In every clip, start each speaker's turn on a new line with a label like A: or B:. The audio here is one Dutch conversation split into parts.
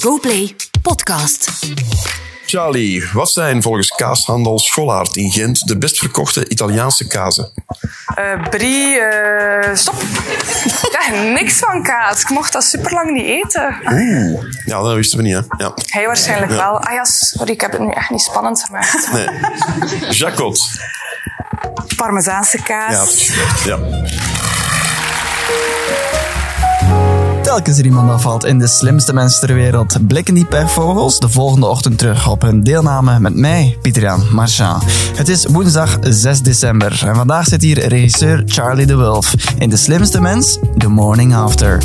A: GoPlay Podcast.
B: Charlie, wat zijn volgens kaashandel Schollaard in Gent de best verkochte Italiaanse kazen?
C: Eh, Brie, eh, stop. Ja, niks van kaas. Ik mocht dat super lang niet eten.
B: Ja, dat wisten we niet, hè? Ja.
C: Hij waarschijnlijk wel. Ah ja, sorry, ik heb het nu echt niet spannend gemaakt.
B: Nee. Jacot.
C: Parmezaanse
B: Ja.
C: kaas.
B: ja.
D: Telkens er iemand afvalt in de slimste mensen ter wereld, blikken die pervogels de volgende ochtend terug op hun deelname met mij, Pieter-Jan Marchand. Het is woensdag 6 december en vandaag zit hier regisseur Charlie de Wolf in De Slimste Mens, The Morning After.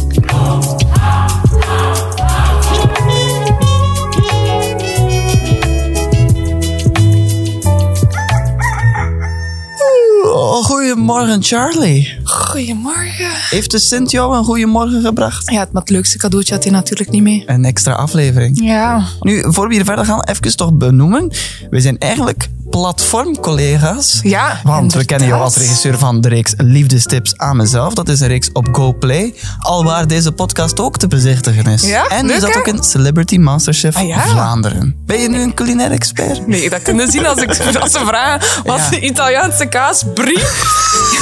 D: Oh, goedemorgen Charlie.
E: Goedemorgen.
D: Heeft de Sint jou een goedemorgen gebracht?
E: Ja, het- maar het leukste cadeautje had hij natuurlijk niet mee.
D: Een extra aflevering.
E: Ja.
D: Nu, voor we hier verder gaan, even toch benoemen. We zijn eigenlijk platformcollega's.
E: Ja,
D: Want we
E: inderdaad.
D: kennen jou als regisseur van de reeks Liefdestips aan mezelf. Dat is een reeks op GoPlay. Alwaar deze podcast ook te bezichtigen is.
E: Ja,
D: en je
E: leuk,
D: zat
E: hè?
D: ook in Celebrity Masterchef
E: Ah, ja.
D: Vlaanderen. Ben je nu een culinair expert?
E: Nee, dat kunnen zien als, ik, als ze vragen. Wat
D: Ja.
E: is de Italiaanse kaas? Brie.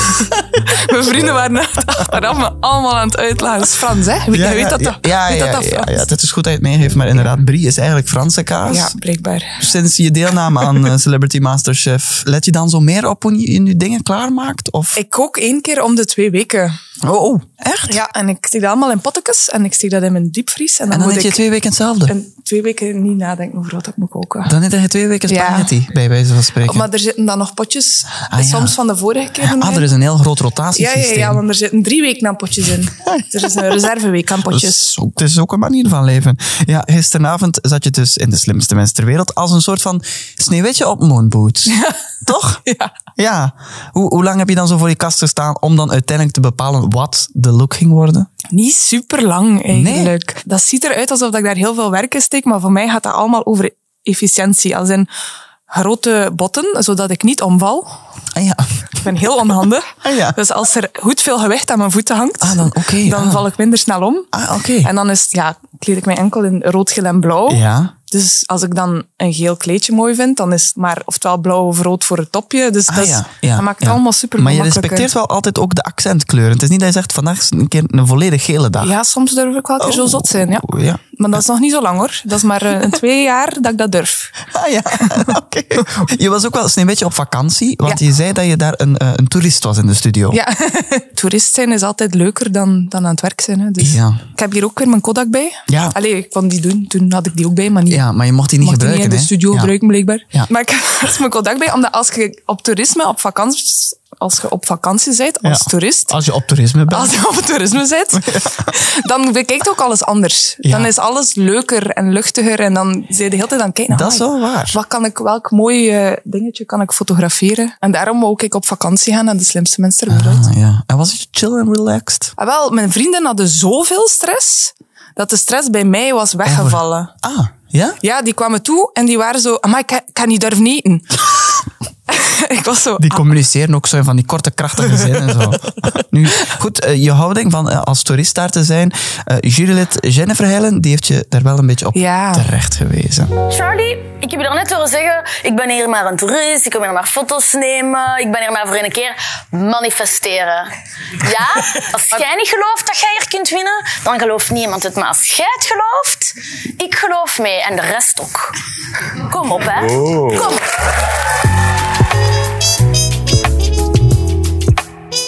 E: Mijn vrienden waren net achteraf me allemaal aan het uitlachen. Dat is Frans, hè? Je weet dat
D: ja,
E: toch?
D: Ja,
E: Weet
D: ja,
E: dat dat
D: ja,
E: Frans
D: ja, dat is goed dat je het meegeeft. Maar inderdaad, Brie is eigenlijk Franse kaas.
E: Ja, blijkbaar.
D: sinds je deelname aan eh, Celebrity Masterchef, let je dan zo meer op hoe je nu dingen klaarmaakt? Of...
E: Ik kook één keer om de twee weken.
D: Oh, oh, echt?
E: Ja, en ik steek dat allemaal in pottekes en ik steek dat in mijn diepvries. En dan,
D: En dan
E: moet
D: eet je
E: ik
D: twee weken hetzelfde.
E: in twee weken niet nadenken over wat ik moet koken.
D: Dan eet je twee weken
E: Ja.
D: spaghetti, bij wijze van spreken.
E: Maar er zitten dan nog potjes,
D: Ah, ja.
E: soms van de vorige keer. nog
D: ah, er
E: in.
D: is een heel groot
E: Ja, ja,
D: rotatiesysteem.
E: ja, want er zitten drie weken aan potjes in. Er is een reserveweek aan
D: Dat
E: potjes.
D: is ook, het is ook een manier van leven. Ja, gisteravond zat je dus in de slimste mens ter wereld als een soort van sneeuwwitje op moonboots. Toch?
E: Ja.
D: Ja. Hoe, hoe lang heb je dan zo voor je kast gestaan om dan uiteindelijk te bepalen wat de look ging worden?
E: Niet super lang eigenlijk. Dat ziet eruit alsof ik daar heel veel werk in steek, maar voor mij gaat dat allemaal over efficiëntie. Als in grote botten, zodat ik niet omval.
D: Ah ja.
E: Ik ben heel onhandig.
D: Ah, ja.
E: Dus als er goed veel gewicht aan mijn voeten hangt,
D: Ah, dan- oké,
E: dan
D: ah.
E: val ik minder snel om.
D: Ah, oké.
E: En dan is, het- ja, kleed ik mij enkel in rood, geel en blauw.
D: Ja.
E: Dus als ik dan een geel kleedje mooi vind, dan is het maar oftewel blauw of rood voor het topje. Dus
D: Ah,
E: dat, is-
D: ja, ja,
E: dat maakt het
D: ja.
E: allemaal super
D: Maar je respecteert wel altijd ook de accentkleuren. Het is niet dat je zegt, vandaag is een keer een volledig gele dag.
E: Ja, soms durf ik wel een keer zo zot zijn. Ja.
D: Oh, ja.
E: Maar dat is nog niet zo lang hoor. Dat is maar eh, een twee jaar dat ik dat durf.
D: Ah ja, oké. Je was ook wel eens een beetje op vakantie, want
E: Ja.
D: je zei dat je daar een, eh, een toerist was in de studio.
E: Ja, toerist zijn is altijd leuker dan, dan aan het werk zijn. Hè. Dus
D: Ja.
E: Ik heb hier ook weer mijn Kodak bij.
D: Ja.
E: Allee, ik kon die doen. Toen had ik die ook bij, maar niet.
D: Ja, maar je mocht die niet
E: Mocht die
D: gebruiken.
E: niet in de
D: hè?
E: studio
D: Ja.
E: gebruiken, blijkbaar.
D: Ja.
E: Maar ik had mijn Kodak bij, omdat als je op toerisme, op vakantie, als je op vakantie bent, als
D: Ja.
E: toerist,
D: Als je op toerisme bent.
E: als je op toerisme zit, dan bekijkt ook alles anders.
D: Ja.
E: Dan is alles leuker en luchtiger en dan zit je de hele tijd aan het kijken.
D: Dat is
E: "Amai,
D: wel waar.
E: Wat kan ik, welk mooi eh, dingetje kan ik fotograferen? En daarom wou ik op vakantie gaan naar de slimste mensen ter wereld.
D: Ah, ja. En was het chill en relaxed?
E: Ah, wel, mijn vrienden hadden zoveel stress, dat de stress bij mij was weggevallen.
D: Ah, ja?
E: Ja, die kwamen toe en die waren zo, maar ik kan- ik kan niet durven eten. ik was zo,
D: Die communiceren ook zo in van die korte, krachtige zinnen. en Zo. Nu, goed, eh, je houding van eh, als toerist daar te zijn. eh Juliette Jennifer Heilen, die heeft je daar wel een beetje op
E: Ja.
D: terecht gewezen.
F: Charlie, ik heb je daarnet horen zeggen, ik ben hier maar een toerist, ik kom hier maar foto's nemen, ik ben hier maar voor een keer manifesteren. Ja, als jij niet gelooft dat jij hier kunt winnen, dan gelooft niemand het. Maar als jij het gelooft, ik geloof mee en de rest ook. Kom op, hè.
B: Oh.
F: Kom.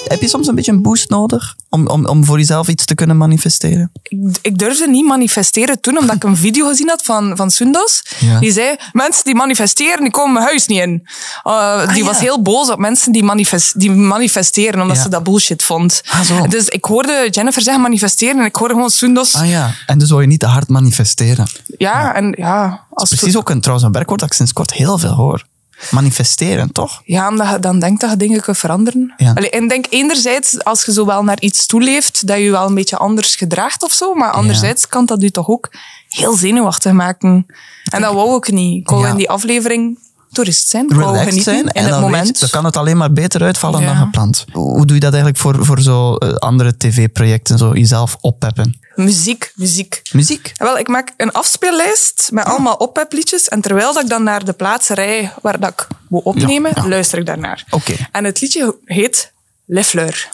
D: Heb je soms een beetje een boost nodig om, om, om voor jezelf iets te kunnen manifesteren?
E: ik, ik durfde niet manifesteren toen, omdat ik een video gezien had van, van Sundos.
D: Ja.
E: Die zei, mensen die manifesteren, die komen mijn huis niet in. Uh, die
D: Ah, ja.
E: was heel boos op mensen die, manifest, die manifesteren, omdat
D: Ja.
E: ze dat bullshit vond.
D: Ah, zo.
E: Dus ik hoorde Jennifer zeggen manifesteren en ik hoorde gewoon Sundos.
D: Ah ja, en dus wil je niet te hard manifesteren.
E: ja, en ja. Als
D: Precies ook een, trouwens een werkwoord dat ik sinds kort heel veel hoor. Manifesteren, toch?
E: Ja, omdat je dan denkt dat je dingen kunt veranderen.
D: Ja.
E: Allee, en ik denk enerzijds, als je zo wel naar iets toeleeft, dat je je wel een beetje anders gedraagt of zo. Maar anderzijds kan dat je toch ook heel zenuwachtig maken. En dat wou ik niet. Ik wou
D: Ja.
E: in die aflevering toerist zijn. Gewoon
D: relaxed
E: genieten
D: zijn.
E: in
D: En
E: het
D: dan, weet,
E: moment.
D: dan kan het alleen maar beter uitvallen dan
E: Ja.
D: gepland. Hoe doe je dat eigenlijk voor, voor zo eh, andere tv-projecten, zo jezelf oppeppen?
E: Muziek, muziek.
D: Muziek?
E: Ja, Wel, ik maak een afspeellijst
D: Ah.
E: met allemaal ophepliedjes. En terwijl dat ik dan naar de plaats rij waar dat ik moet opnemen,
D: Ja, ja.
E: luister ik daarnaar.
D: Oké.
E: En het liedje heet Le Fleur.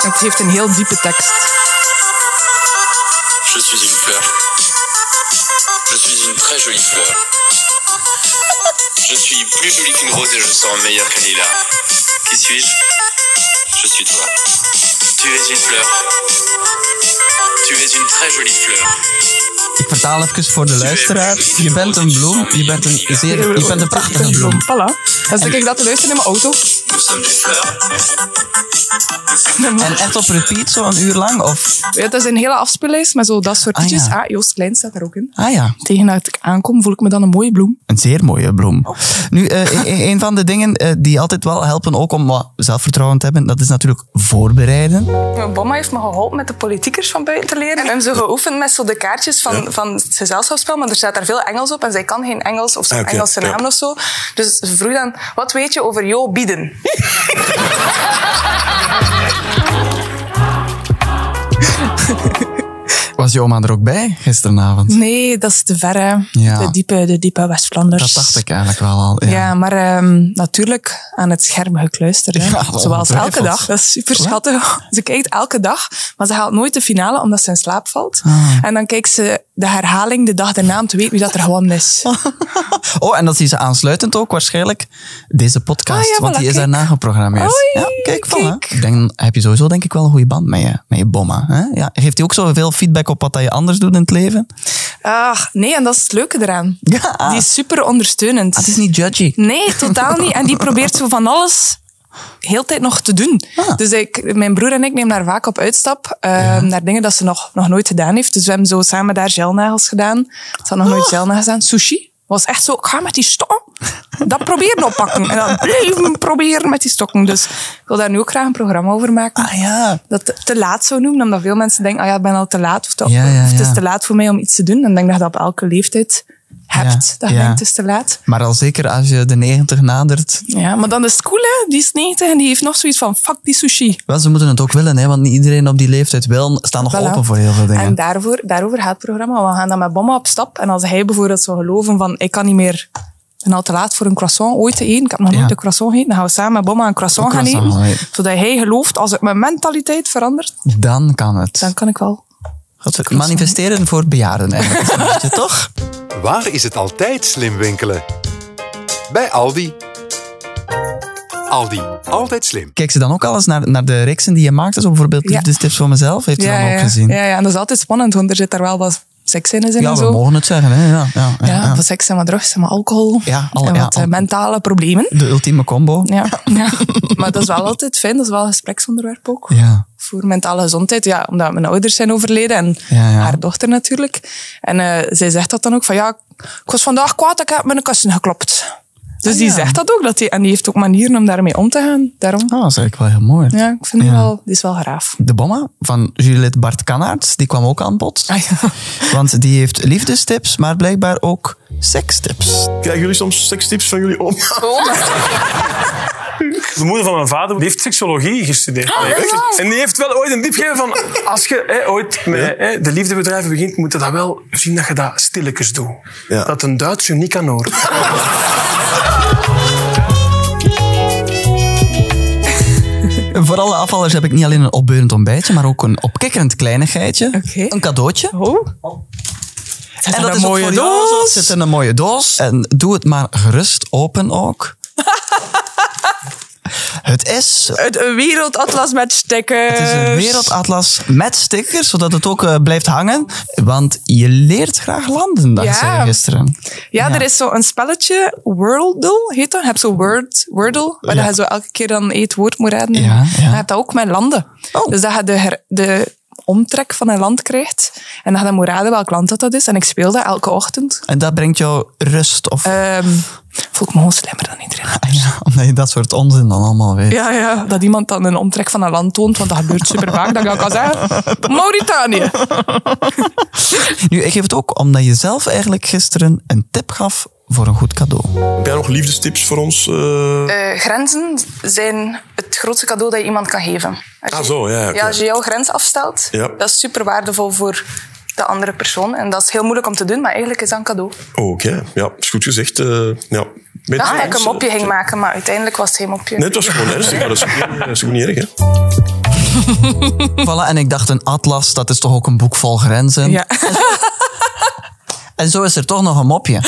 E: Het heeft een heel diepe tekst.
G: Je suis une fleur. Je suis une très jolie fleur. Je suis plus jolie qu'une rose et je sens meilleur qu'un lilas. Qui suis-je Je suis toi. Tu es une fleur. Tu es une très jolie fleur.
D: Ik vertaal even voor de luisteraar. Je bent een bloem, je bent een, zeer, je bent een prachtige bloem.
E: Voilà. Dan zit ik dat te luisteren in mijn auto.
G: Nous sommes des fleurs.
D: En echt op repeat, zo een uur lang? Of,
E: Ja, het is een hele afspeellijst met zo dat soort
D: Ah,
E: liedjes. Ah,
D: ja.
E: Joost Klein staat daar ook in.
D: ah ja,
E: Tegen dat ik aankom voel ik me dan een mooie bloem.
D: Een zeer mooie bloem.
E: Oh.
D: Nu, eh, e- e- een van de dingen eh, die altijd wel helpen, ook om wat zelfvertrouwen te hebben, dat is natuurlijk voorbereiden.
C: Mijn mama heeft me geholpen met de politiekers van buiten te leren. En we hebben zo geoefend met zo de kaartjes van, van het gezelschapsspel. Maar er staat daar veel Engels op en zij kan geen Engels of zo'n
B: Ah, oké,
C: Engelse
B: ja.
C: naam of zo. Dus ze vroeg dan, wat weet je over Jo Bieden?
D: Was je oma er ook bij gisteravond?
E: Nee, dat is te ver, hè.
D: Ja.
E: De diepe, de diepe West-Vlaanders.
D: Dat dacht ik eigenlijk wel al. Ja.
E: Ja, maar ehm, natuurlijk aan het scherm gekluisterd. hè.
D: Ja,
E: Zoals
D: ongetwijfeld.
E: elke dag. Dat is super schattig. Ze kijkt elke dag, maar ze haalt nooit de finale omdat ze in slaap valt.
D: Ah.
E: En dan kijkt ze de herhaling de dag daarna om te weten wie dat er gewonnen is.
D: Oh, en dat zien ze aansluitend ook waarschijnlijk deze podcast,
E: Ah, ja,
D: want
E: voilà,
D: die is
E: kijk.
D: daarna geprogrammeerd.
E: Oei,
D: ja, kijk, voilà.
E: kijk.
D: Ik denk, dan heb je sowieso denk ik wel een goede band met je, met je bomma. Hè? Ja, geeft hij ook zoveel feedback op wat dat je anders doet in het leven?
E: Ah, Ach, nee, en dat is het leuke eraan.
D: Ja.
E: Die is super ondersteunend.
D: Ah, het is niet judgy.
E: Nee, totaal niet. En die probeert zo van alles heel de tijd nog te doen.
D: Ah.
E: Dus ik, mijn broer en ik nemen haar vaak op uitstap. eh, Naar dingen dat ze nog, nog nooit gedaan heeft. Dus we hebben zo samen daar gelnagels gedaan. Ze had nog
D: Ah.
E: nooit gelnagels gedaan. Sushi. Was echt zo, ik ga met die stok dat proberen oppakken. En dan blijven proberen met die stokken. Dus ik wil daar nu ook graag een programma over maken.
D: Ah ja.
E: Dat te, te laat zou noemen, omdat veel mensen denken, ah ja, ik ben al te laat. Of, te-
D: Ja, ja,
E: of het
D: ja.
E: is te laat voor mij om iets te doen. En ik denk dat je dat op elke leeftijd hebt.
D: Ja,
E: dat je
D: ja.
E: denkt, het is te laat.
D: Maar al zeker als je de 90 nadert,
E: Ja, maar dan is het cool, hè. Die is 90 en die heeft nog zoiets van, fuck die sushi.
D: Wel, ze moeten het ook willen, hè, want niet iedereen op die leeftijd wil, staan nog
E: Voilà.
D: open voor heel veel dingen.
E: En daarvoor, daarover gaat het programma. We gaan dan met bommen op stap. En als hij bijvoorbeeld zou geloven van, ik kan niet meer... Ik ben al te laat voor een croissant ooit te eten. Ik heb nog nooit
D: Ja.
E: een croissant gegeten. Dan gaan we samen met bommen een croissant,
D: Een croissant
E: gaan
D: gaan
E: eten.
D: eten.
E: Zodat hij gelooft, als ik mijn mentaliteit verandert,
D: Dan kan het.
E: dan kan ik wel.
D: het manifesteren voor bejaarden eigenlijk. is een beetje, toch?
H: Waar is het altijd slim winkelen? Bij Aldi. Aldi, altijd slim.
D: Kijk ze dan ook alles naar, naar de reeksen die je maakt? Zo bijvoorbeeld
E: Ja.
D: Liefdestips voor mezelf, heeft ze dan ook
E: ja,
D: gezien?
E: Ja, ja, en dat is altijd spannend, want er zit daar wel wat sekscènes in
D: Ja,
E: en
D: we
E: zo.
D: mogen het zeggen. Hè? Ja, ja, ja,
E: ja,
D: ja.
E: wat seks en wat drugs en wat alcohol.
D: Ja, al-
E: en
D: ja,
E: wat eh,
D: al-
E: mentale problemen.
D: De ultieme combo. Ja.
E: Ja, ja. maar dat is wel altijd fijn. Dat is wel een gespreksonderwerp ook.
D: Ja.
E: Voor mentale gezondheid. Ja, omdat mijn ouders zijn overleden en
D: Ja, ja.
E: haar dochter natuurlijk. En eh, zij zegt dat dan ook van ja, ik was vandaag kwaad, ik heb mijn kussen geklopt. Dus
D: Ah,
E: die
D: ja.
E: zegt dat ook. Dat die, en die heeft ook manieren om daarmee om te gaan. Daarom,
D: Oh, dat is eigenlijk wel heel mooi.
E: ja, ik vind die,
D: Ja.
E: wel, die is wel graaf.
D: De bomma van Juliette Bart Kanaerts, die kwam ook aan bod.
E: Ah,
D: Want die heeft liefdestips, maar blijkbaar ook sekstips.
B: Krijgen jullie soms sekstips van jullie om?
I: De moeder van mijn vader die heeft seksologie gestudeerd. en die heeft wel ooit een tip gegeven van... Als je hè, ooit met hè, de liefdebedrijven begint, moet je dat wel zien dat je dat stilletjes doet.
B: Ja.
I: Dat een Duits je niet kan horen.
D: Voor alle afvallers heb ik niet alleen een opbeurend ontbijtje, maar ook een opkikkerend kleinigheidje.
E: Oké.
D: Een cadeautje.
E: Oh.
D: En
E: er
D: dat
E: een
D: is ook
E: mooie
D: voor jou
E: doos?
D: zo. Het zit in een mooie doos. En doe het maar gerust open ook. het is...
E: Het een wereldatlas met stekkers.
D: Het is een wereldatlas met stickers, zodat het ook eh, blijft hangen. Want je leert graag landen, dacht
E: Ja.
D: zei je gisteren.
E: Ja, er is zo een spelletje, Wordle heet dat. Je hebt zo Word, Wordle, waar
D: Ja.
E: je zo elke keer dan één woord moet raden.
D: Ja, ja.
E: En Je hebt dat ook met landen.
D: Oh.
E: Dus dat je de, her- de omtrek van een land krijgt. En dat je dan moet raden welk land dat, dat is. En ik speel dat elke ochtend.
D: En dat brengt jou rust. Of,
E: Ehm, voel ik me gewoon slimmer dan iedereen.
D: Ah ja, omdat je dat soort onzin dan allemaal weet.
E: Ja, ja. Dat iemand dan een omtrek van een land toont, want dat gebeurt super vaak. Dan kan ik al zeggen, Mauritanië.
D: Nu, ik geef het ook omdat je zelf eigenlijk gisteren een tip gaf voor een goed cadeau.
B: Heb jij nog liefdestips voor ons? eh?
C: Eh, grenzen zijn het grootste cadeau dat je iemand kan geven. Als
B: Ah,
C: je-
B: zo, ja, oké.
C: als je jouw grens afstelt,
B: Ja.
C: dat is super waardevol voor de andere persoon. En dat is heel moeilijk om te doen, maar eigenlijk is dat een cadeau.
B: Oh, Oké, ja, is goed gezegd. eh, ja. Met
C: Ah, Ik dacht dat ik een
B: mensen-
C: mopje ging maken, maar uiteindelijk was het geen mopje.
B: Nee, het was gewoon ernstig, maar dat is ook niet, dat is ook niet erg, hè?
D: Voilà, en ik dacht een atlas, dat is toch ook een boek vol grenzen.
E: Ja.
D: En zo is er toch nog een mopje.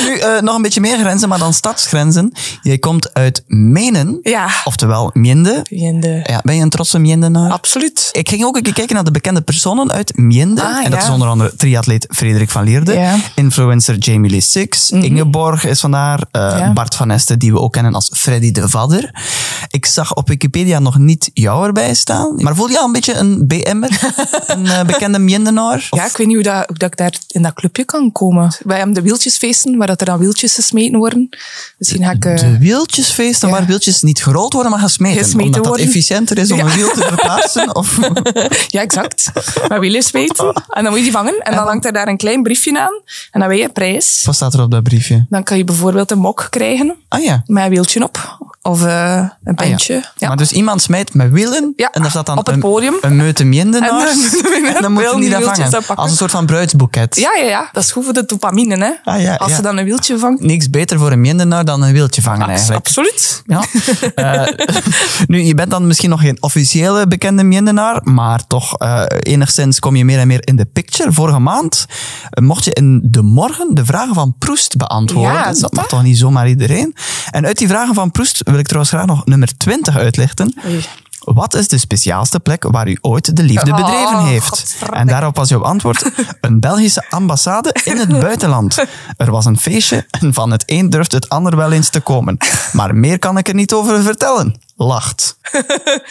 D: nu, eh, nog een beetje meer grenzen, maar dan stadsgrenzen. Jij komt uit Menen,
E: Ja.
D: oftewel Mjende.
E: In de...
D: Ja, ben je een trotse Mjendenaar?
E: Absoluut.
D: Ik ging ook een keer kijken naar de bekende personen uit Mjende.
E: Ah,
D: en dat
E: ja.
D: is onder andere triatleet Frederik van Leerde,
E: Ja. Mhm.
D: influencer Jamie Lee Six, Ingeborg is vandaar, eh,
E: Ja.
D: Bart van Esten, die we ook kennen als Freddy de Vadder. Ik zag op Wikipedia nog niet jou erbij staan, maar voel je al een beetje een BM'er? een eh, bekende Mjendenaar?
E: Ja, ik weet niet hoe, dat, hoe dat ik daar in dat clubje kan komen. Wij hebben de wieltjesfeesten, waar dat er dan wieltjes gesmeten worden. Misschien ga ik... eh,
D: De wieltjesfeesten,
E: Ja.
D: waar wieltjes niet gerold worden, maar gesmeten.
E: Gesmeten
D: omdat
E: worden.
D: dat efficiënter is om
E: Ja.
D: een wiel te verplaatsen. Of,
E: Ja, exact. Maar wielen weten. En dan moet je die vangen. En dan hangt er daar een klein briefje aan. En dan weet je een prijs.
D: wat staat er op dat briefje?
E: Dan kan je bijvoorbeeld een mok krijgen
D: Ah ja.
E: met een wieltje op. Of eh, een
D: Ah, ja.
E: pintje. ja.
D: Maar dus iemand smijt met wielen
E: Ja,
D: en daar staat dan
E: op het
D: een,
E: podium.
D: een meute mindenaars.
E: En dan-
D: En dan, moet je
E: wil
D: die
E: die
D: dan
E: wieltjes
D: vangen.
E: dan pakken.
D: Als een soort van bruidsboeket.
E: ja, ja, ja. Dat is goed voor de dopamine, hè.
D: Ah, ja,
E: Als
D: ja.
E: ze dan een wieltje vangt.
D: Niks beter voor een mindenaar dan een wieltje
E: Ah,
D: vangen eigenlijk.
E: Absoluut.
D: Ja. Eh, nu, je bent dan misschien nog geen officiële bekende mindenaar, maar toch eh, enigszins kom je meer en meer in de picture. Vorige maand eh, mocht je in de morgen de vragen van Proest beantwoorden.
E: Ja,
D: dat
E: zot,
D: mag
E: hè?
D: toch niet zomaar iedereen? En uit die vragen van Proest wil ik trouwens graag nog nummer 20 uitlichten. Wat is de speciaalste plek waar u ooit de liefde bedreven
E: Oh,
D: heeft? En daarop was jouw antwoord een Belgische ambassade in het buitenland. Er was een feestje en van het een durft het ander wel eens te komen. Maar meer kan ik er niet over vertellen. Lacht.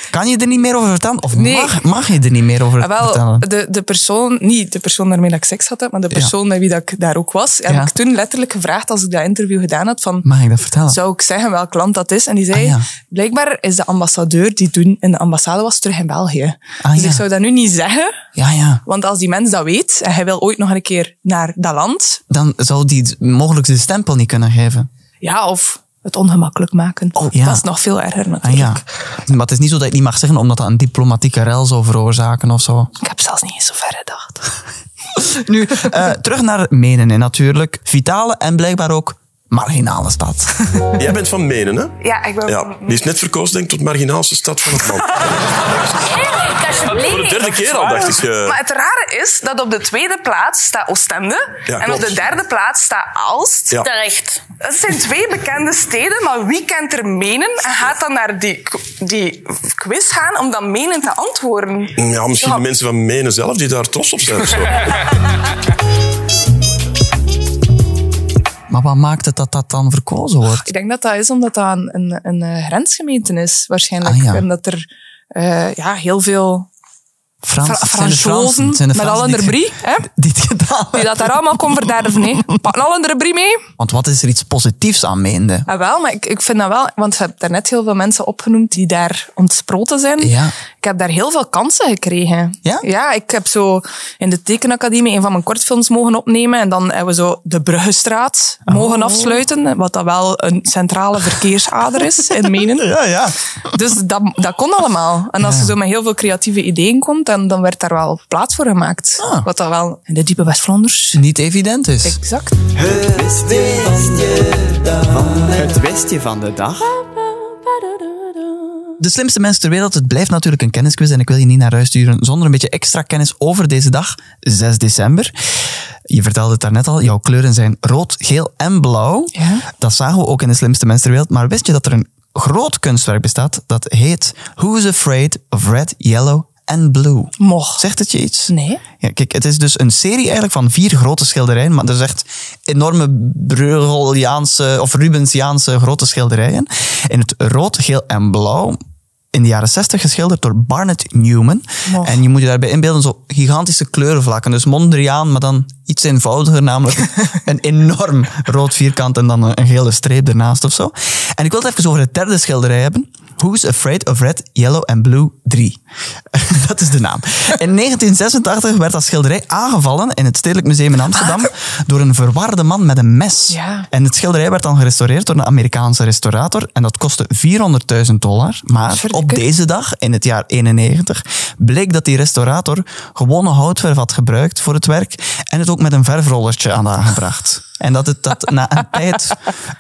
D: Kan je er niet meer over vertellen? Of
E: Nee.
D: mag, mag je er niet meer over
E: Ah, wel,
D: vertellen?
E: de, de persoon, niet de persoon waarmee dat ik seks had, hè, maar de persoon met wie dat ik daar ook was, heb
D: Ja.
E: ik toen letterlijk gevraagd als ik dat interview gedaan had van...
D: Mag ik dat vertellen?
E: zou ik zeggen welk land dat is. En die zei,
D: Ah, ja.
E: blijkbaar is de ambassadeur die toen in de ambassade was terug in België.
D: Ah,
E: dus
D: ja.
E: ik zou dat nu niet zeggen,
D: Ja, ja.
E: want als die mens dat weet en hij wil ooit nog een keer naar dat land,
D: Dan zou die mogelijk de stempel niet kunnen geven.
E: ja, of het ongemakkelijk maken.
D: Oh, ja.
E: Dat is nog veel erger
D: Ah,
E: natuurlijk.
D: ja. Maar het is niet zo dat je het niet mag zeggen, omdat dat een diplomatieke rel zou veroorzaken of zo.
E: Ik heb zelfs niet eens zo ver gedacht.
D: Nu, eh, terug naar Menen hè, natuurlijk. Vitale en blijkbaar ook marginale stad.
B: Jij bent van Menen, hè?
C: Ja, ik ben
B: Ja, die is net verkozen, denk ik, tot marginaalste stad van het land.
F: Erik,
B: Voor de
F: alsjeblieft.
B: derde keer al, dacht ik. eh.
C: Maar het rare is dat op de tweede plaats staat Oostende.
B: Ja,
C: en op
B: klopt.
C: de derde plaats staat Aalst.
B: Ja.
F: Terecht.
C: Dat zijn twee bekende steden, maar wie kent er Menen? En gaat dan naar die, die quiz gaan om dan Menen te antwoorden.
B: Ja, misschien de mensen van Menen zelf die daar trots op zijn of zo.
D: Maar wat maakt het dat dat dan verkozen wordt?
E: Ik denk dat dat is omdat dat een, een, een eh, grensgemeente is, waarschijnlijk.
D: Ah, ja.
E: En dat er eh, ja, heel veel
D: Frans,
E: Fra-
D: het zijn de Fransen,
E: Fransozen
D: het zijn de
E: met al
D: Fransen
E: een
D: die-
E: debris, hè?
D: Die het gedaan
E: die
D: hebben.
E: dat daar allemaal kon verderven. hè. Pak al een debris mee.
D: Want wat is er iets positiefs aan Meende?
E: Ah, wel, maar ik, ik vind dat wel, want je hebt daarnet heel veel mensen opgenoemd die daar ontsproten zijn.
D: Ja.
E: Ik heb daar heel veel kansen gekregen.
D: Ja?
E: Ja, ik heb zo in de tekenacademie een van mijn kortfilms mogen opnemen en dan hebben we zo de Bruggestraat
D: Oh.
E: mogen afsluiten, wat dat wel een centrale verkeersader is in Menen.
D: Ja, ja.
E: Dus dat, dat kon allemaal. En als je zo met heel veel creatieve ideeën komt, dan, dan werd daar wel plaats voor gemaakt.
D: Ah.
E: Wat dat wel in de diepe West-Vlaanders.
D: Niet evident is.
E: Exact.
D: Het westje van de dag. De slimste mens ter wereld, het blijft natuurlijk een kennisquiz en ik wil je niet naar huis sturen zonder een beetje extra kennis over deze dag, 6 december. Je vertelde het daarnet al, jouw kleuren zijn rood, geel en blauw.
E: Ja.
D: Dat zagen we ook in de slimste mens ter wereld, maar wist je dat er een groot kunstwerk bestaat dat heet Who's Afraid of Red, Yellow and Blue?
E: Mocht.
D: Zegt het je iets?
E: Nee.
D: Ja, kijk, het is dus een serie eigenlijk van vier grote schilderijen, maar er is echt enorme Bruegeliaanse of Rubensiaanse grote schilderijen. In het rood, geel en blauw in de jaren 60 geschilderd door Barnett Newman.
E: Oh.
D: En je moet je daarbij inbeelden, zo gigantische kleurenvlakken. Dus Mondriaan, maar dan iets eenvoudiger, namelijk een enorm rood vierkant en dan een, een gele streep ernaast of zo. En ik wil het even over het derde schilderij hebben. Who's Afraid of Red, Yellow and Blue 3? dat is de naam. In 1986 werd dat schilderij aangevallen in het Stedelijk Museum in Amsterdam door een verwarde man met een mes.
E: Ja.
D: En het schilderij werd dan gerestaureerd door een Amerikaanse restaurator. En dat kostte 400.000 dollar. Maar
E: Verdikke.
D: op deze dag, in het jaar 91, bleek dat die restaurator gewonnen houtverf had gebruikt voor het werk. En het ook met een verfrollertje aan de aangebracht. En dat het dat na een tijd,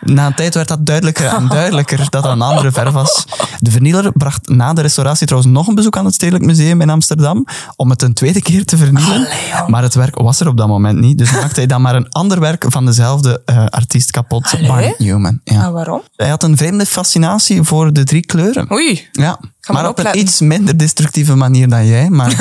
D: na een tijd werd dat duidelijker en duidelijker dat dat een andere verf was. De vernieler bracht na de restauratie trouwens nog een bezoek aan het Stedelijk Museum in Amsterdam om het een tweede keer te vernielen. maar het werk was er op dat moment niet. Dus maakte hij dan maar een ander werk van dezelfde eh, artiest kapot, Barnett Newman. Ja.
E: En waarom?
D: Hij had een vreemde fascinatie voor de drie kleuren.
E: Oei.
D: Ja,
E: maar
D: maar op een
E: opletten.
D: iets minder destructieve manier dan jij. Maar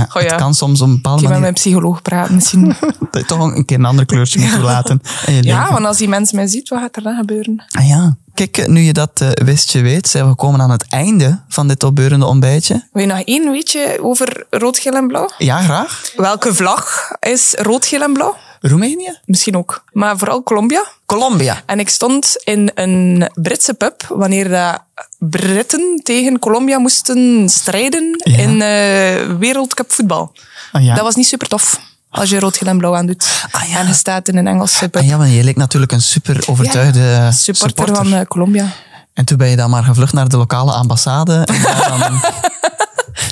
D: ja,
E: Goh,
D: het
E: ja.
D: kan soms op een bepaalde
E: Ik ga met
D: manier
E: mijn psycholoog praten misschien.
D: dat je toch een keer een ander kleurtje moet laten. in je
E: ja,
D: leven.
E: want als die mens mij ziet, wat gaat er dan gebeuren?
D: Ah ja. Kijk, eh, nu je dat eh, wist, je weet, zijn we gekomen aan het einde van dit opbeurende ontbijtje.
E: Wil je nog één weetje over rood, geel en blauw?
D: Ja, graag.
E: Welke vlag is rood, geel en blauw?
D: Roemenië?
E: Misschien ook. Maar vooral Colombia.
D: Colombia.
E: En ik stond in een Britse pub wanneer de Britten tegen Colombia moesten strijden
D: Ja.
E: in eh wereldcup voetbal.
D: Ah ja.
E: Dat was niet super tof. Als je rood, geel en blauw aandoet.
D: Ah ja.
E: En je staat in een Engelse pub.
D: Ah ja, want je leek natuurlijk een super overtuigde eh,
E: supporter,
D: supporter.
E: van eh, Colombia.
D: En toen ben je dan maar gevlucht naar de lokale ambassade. En daar dan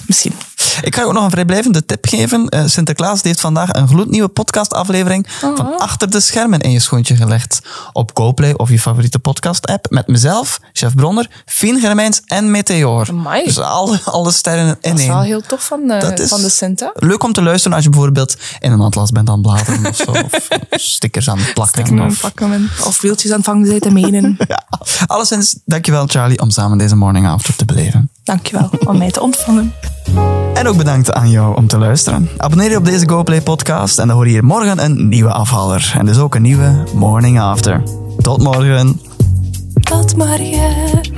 E: Misschien.
D: Ik ga je ook nog een vrijblijvende tip geven. Eh, Sinterklaas die heeft vandaag een gloednieuwe podcastaflevering
E: Oh.
D: van Achter de Schermen in je schoentje gelegd. Op GoPlay of je favoriete podcast-app met mezelf, Chef Bronner, Fien Germijns en Meteor.
E: Amai.
D: Dus alle, alle sterren in
E: Dat is
D: één.
E: wel heel tof van, eh,
D: Dat is-
E: van de Sinta.
D: Leuk om te luisteren als je bijvoorbeeld in een atlas bent aan het bladeren of zo. Of stickers aan het plakken.
E: Of,
D: of,
E: pakken hem. of wieltjes aan het vangen zijn te menen.
D: ja. Alleszins, dankjewel Charlie om samen deze morning after te beleven.
E: Dankjewel om mij te ontvangen.
D: En ook bedankt aan jou om te luisteren. Abonneer je op deze GoPlay podcast en dan hoor je hier morgen een nieuwe afhaler. En dus ook een nieuwe Morning After. Tot morgen.
E: Tot morgen.